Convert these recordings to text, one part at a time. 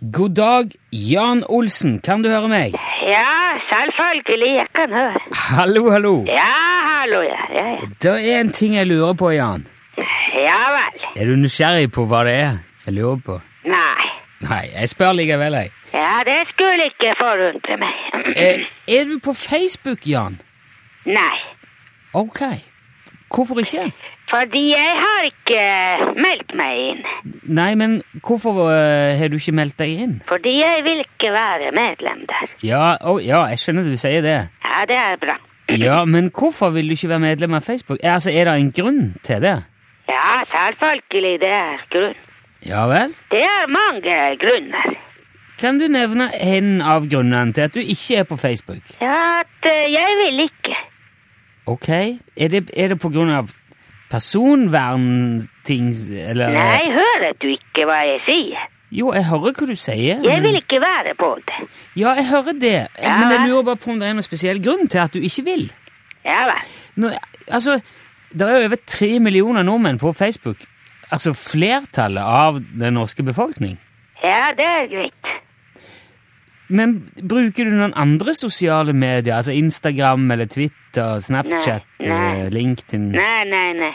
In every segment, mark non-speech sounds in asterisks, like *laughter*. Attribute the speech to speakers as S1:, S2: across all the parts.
S1: God dag, Jan Olsen. Kan du høre meg?
S2: Ja, selvfølgelig. Jeg kan høre.
S1: Hallo, hallo.
S2: Ja, hallo, ja. Ja, ja.
S1: Det er en ting jeg lurer på, Jan.
S2: ja vel.
S1: Er du nysgjerrig på hva det er jeg lurer på?
S2: Nei.
S1: Nei, jeg spør likevel, jeg.
S2: Ja, det skulle ikke forundre meg.
S1: Eh, er du på Facebook, Jan?
S2: Nei.
S1: Ok. Hvorfor ikke?
S2: Fordi jeg har ikke meldt meg inn.
S1: Nei, men hvorfor eh, har du ikke meldt deg inn?
S2: Fordi jeg vil ikke være medlem der.
S1: Ja, å, ja, jeg skjønner du sier det.
S2: Ja, det er bra.
S1: *clears throat* Ja, men hvorfor vil du ikke være medlem av Facebook? Eh, Altså, Er det en grunn til det?
S2: Ja, selvfølgelig. Det er grunn.
S1: Ja vel?
S2: Det er mange grunner.
S1: Kan du nevne en av grunnene til at du ikke er på Facebook?
S2: Ja, at eh, jeg vil ikke.
S1: Ok, er det, er det på grunn av personvernting, eller?
S2: Nei, hører du ikke hva jeg sier?
S1: Jo, jeg hører hva du sier.
S2: Jeg
S1: men-
S2: vil ikke være på det.
S1: Ja, jeg hører det,
S2: Ja,
S1: men jeg
S2: vel.
S1: lurer bare på om det er noen spesiell grunn til at du ikke vil.
S2: Ja vel.
S1: Nå, altså, det er jo over tre millioner nordmenn på Facebook. Altså flertallet av den norske befolkning.
S2: Ja, det er greit.
S1: Men bruker du noen andre sosiale medier? Altså Instagram eller Twitter, Snapchat,
S2: Nei, nei.
S1: eh, LinkedIn?
S2: Nei, nei, nei.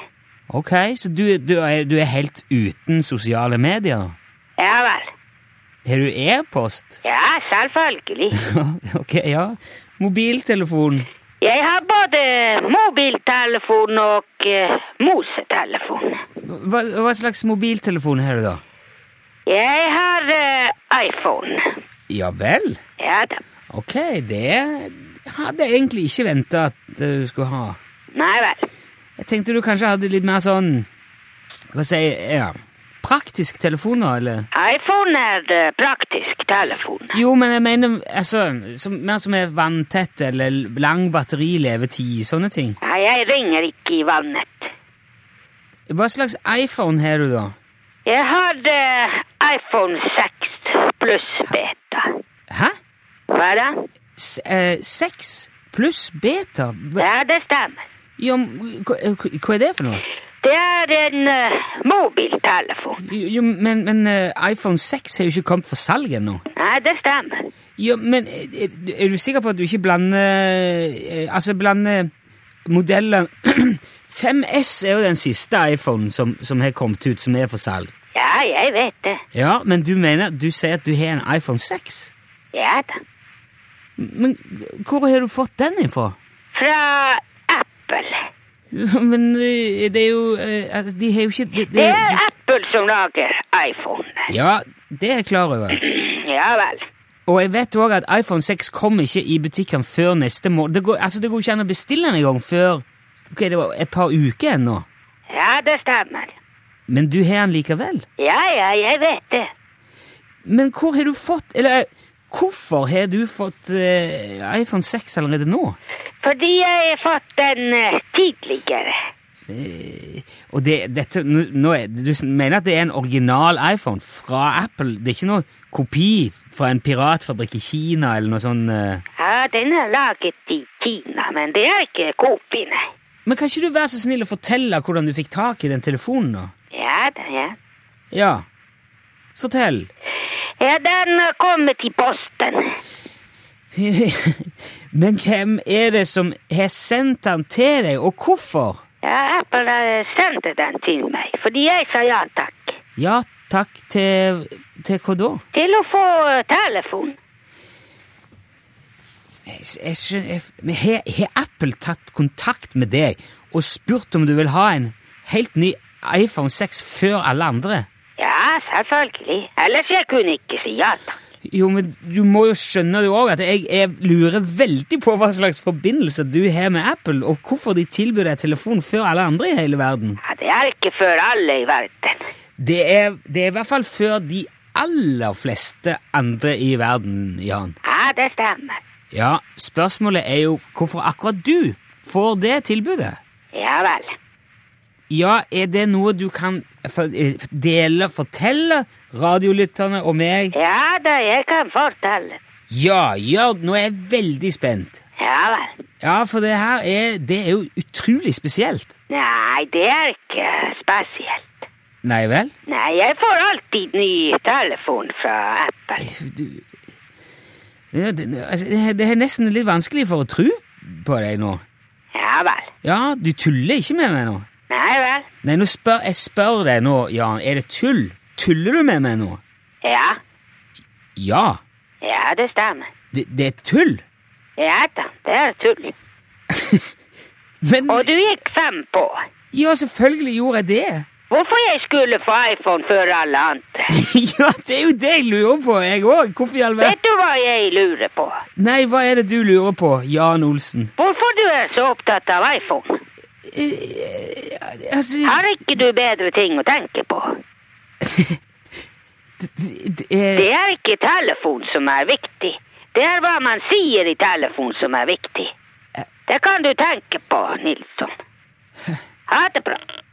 S1: Ok, så du, du, er, du er helt uten sosiale medier?
S2: Ja vel.
S1: Har du e-post? *laughs*
S2: Ja, selvfølgelig.
S1: ok, ja. Mobiltelefon.
S2: Jeg har både mobiltelefon og eh, mosetelefon.
S1: Hva, hva slags mobiltelefon har du, da?
S2: Jeg har eh, iPhone.
S1: Ja vel?
S2: Ja da.
S1: Ok, det hadde jeg egentlig ikke venta at du skulle ha.
S2: Nei vel.
S1: Jeg tenkte du kanskje hadde litt mer sånn Hva sier jeg ja, Praktisk telefon, da, eller?
S2: iPhone er eh, praktisk telefon.
S1: Jo, men jeg mener altså, som, mer som er vanntett eller lang batterilevetid, sånne ting.
S2: Ja, jeg ringer ikke i vannet.
S1: Hva slags iPhone har du, da?
S2: Jeg har eh, iPhone 6 pluss beta.
S1: Hæ?
S2: Hva da?
S1: S eh, 6 pluss beta? Hva,
S2: Ja, det stemmer.
S1: ja, men hva, hva er det for noe?
S2: Det er en eh, mobiltelefon.
S1: Jo, jo, men, men eh, iPhone 6 har jo ikke kommet for salg ennå.
S2: Nei, det stemmer.
S1: Ja, men eh, er, er du sikker på at du ikke blander eh, Altså, blander modellen *clears throat* 5S er jo den siste iPhonen som, som har kommet ut, som er for salg.
S2: Ja, jeg vet det.
S1: Ja, men du mener Du sier at du har en iPhone 6?
S2: Ja da.
S1: Men hvor har du fått den ifra? *laughs*
S2: Fra Apple.
S1: Men eh, det er jo eh, altså, De har jo ikke det- det-
S2: Det er Apple som lager iPhone. *clears throat*
S1: Ja, det er jeg klar over.
S2: Ja vel.
S1: Og jeg vet òg at iPhone 6 kommer ikke i butikkene før neste måned. Det går, altså, det går ikke an å bestille den engang før ok, det var et par uker ennå.
S2: Ja, det stemmer.
S1: Men du har den likevel?
S2: Ja, ja, jeg vet det.
S1: Men hvor har du fått Eller hvorfor har du fått eh, iPhone 6 allerede nå?
S2: Fordi jeg har fått den eh, tidligere.
S1: Eh, Og det, dette, nå, nå er, Du s- mener at det er en original iPhone fra Apple? Det er ikke noe kopi fra en piratfabrikk i Kina eller noe sånn eh.
S2: Ja, den er laget i Kina, men det er ikke kopi, nei.
S1: Men kan ikke du være så snill å fortelle hvordan du fikk tak i den telefonen? da?
S2: Ja da, ja.
S1: Ja, fortell. *laughs*
S2: Ja, den har kommet i posten.
S1: Men hvem er det som har sendt den til deg, og hvorfor?
S2: Ja, Apple eh, sendte den til meg, fordi jeg sa ja takk.
S1: Ja takk til, til hva da?
S2: Til å få eh, telefon.
S1: Jeg, jeg, skjønner- jeg, men har, har Apple tatt kontakt med deg og spurt om du vil ha en helt ny iPhone 6 før alle andre?
S2: Ja, selvfølgelig. Ellers jeg kunne ikke si ja takk.
S1: Jo, men du må jo skjønne du også at jeg, jeg lurer veldig på hva slags forbindelse du har med Apple, og hvorfor de tilbyr deg telefon før alle andre i hele verden.
S2: Ja, det er ikke for alle i verden.
S1: Det er, det er i hvert fall før de aller fleste andre i verden, Jan.
S2: Ja, det stemmer.
S1: Ja, spørsmålet er jo hvorfor akkurat du får det tilbudet?
S2: Ja vel.
S1: Ja, er det noe du kan for- eh, dele, fortelle radiolytterne og meg?
S2: Ja da, jeg kan fortelle.
S1: Ja, gjør Nå er jeg veldig spent.
S2: Ja vel.
S1: Ja, for det her er, det er jo utrolig spesielt.
S2: Nei, det er ikke spesielt.
S1: Nei vel?
S2: Nei, jeg får alltid ny telefon fra Apple. likevel.
S1: Du- Ja, det, det- altså, det, det er nesten litt vanskelig for å tro på deg nå.
S2: Ja vel.
S1: Ja, du tuller ikke med meg nå.
S2: Nei vel.
S1: Nei, nå spør, jeg spør deg nå, Jan, er det tull? Tuller du med meg nå?
S2: Ja.
S1: Ja,
S2: Ja, det stemmer.
S1: det, det er tull.
S2: Ja da, det er tull.
S1: Men
S2: Og du gikk fem på.
S1: Ja, selvfølgelig gjorde jeg det. *laughs*
S2: Hvorfor jeg skulle få iPhone før alle andre?
S1: ja, det er jo det jeg lurer på, jeg òg. Hvorfor i all verden
S2: Vet du hva jeg lurer på?
S1: Nei, hva er det du lurer på, Jan Olsen? Eh,
S2: Hvorfor du er så opptatt av iPhone?
S1: Altså
S2: Har ikke du bedre ting å tenke på?
S1: det
S2: Det
S1: er-
S2: er ikke telefon som er viktig. Det er hva man sier i telefon som er viktig. Det kan du tenke på, Nilsson. Ha det bra.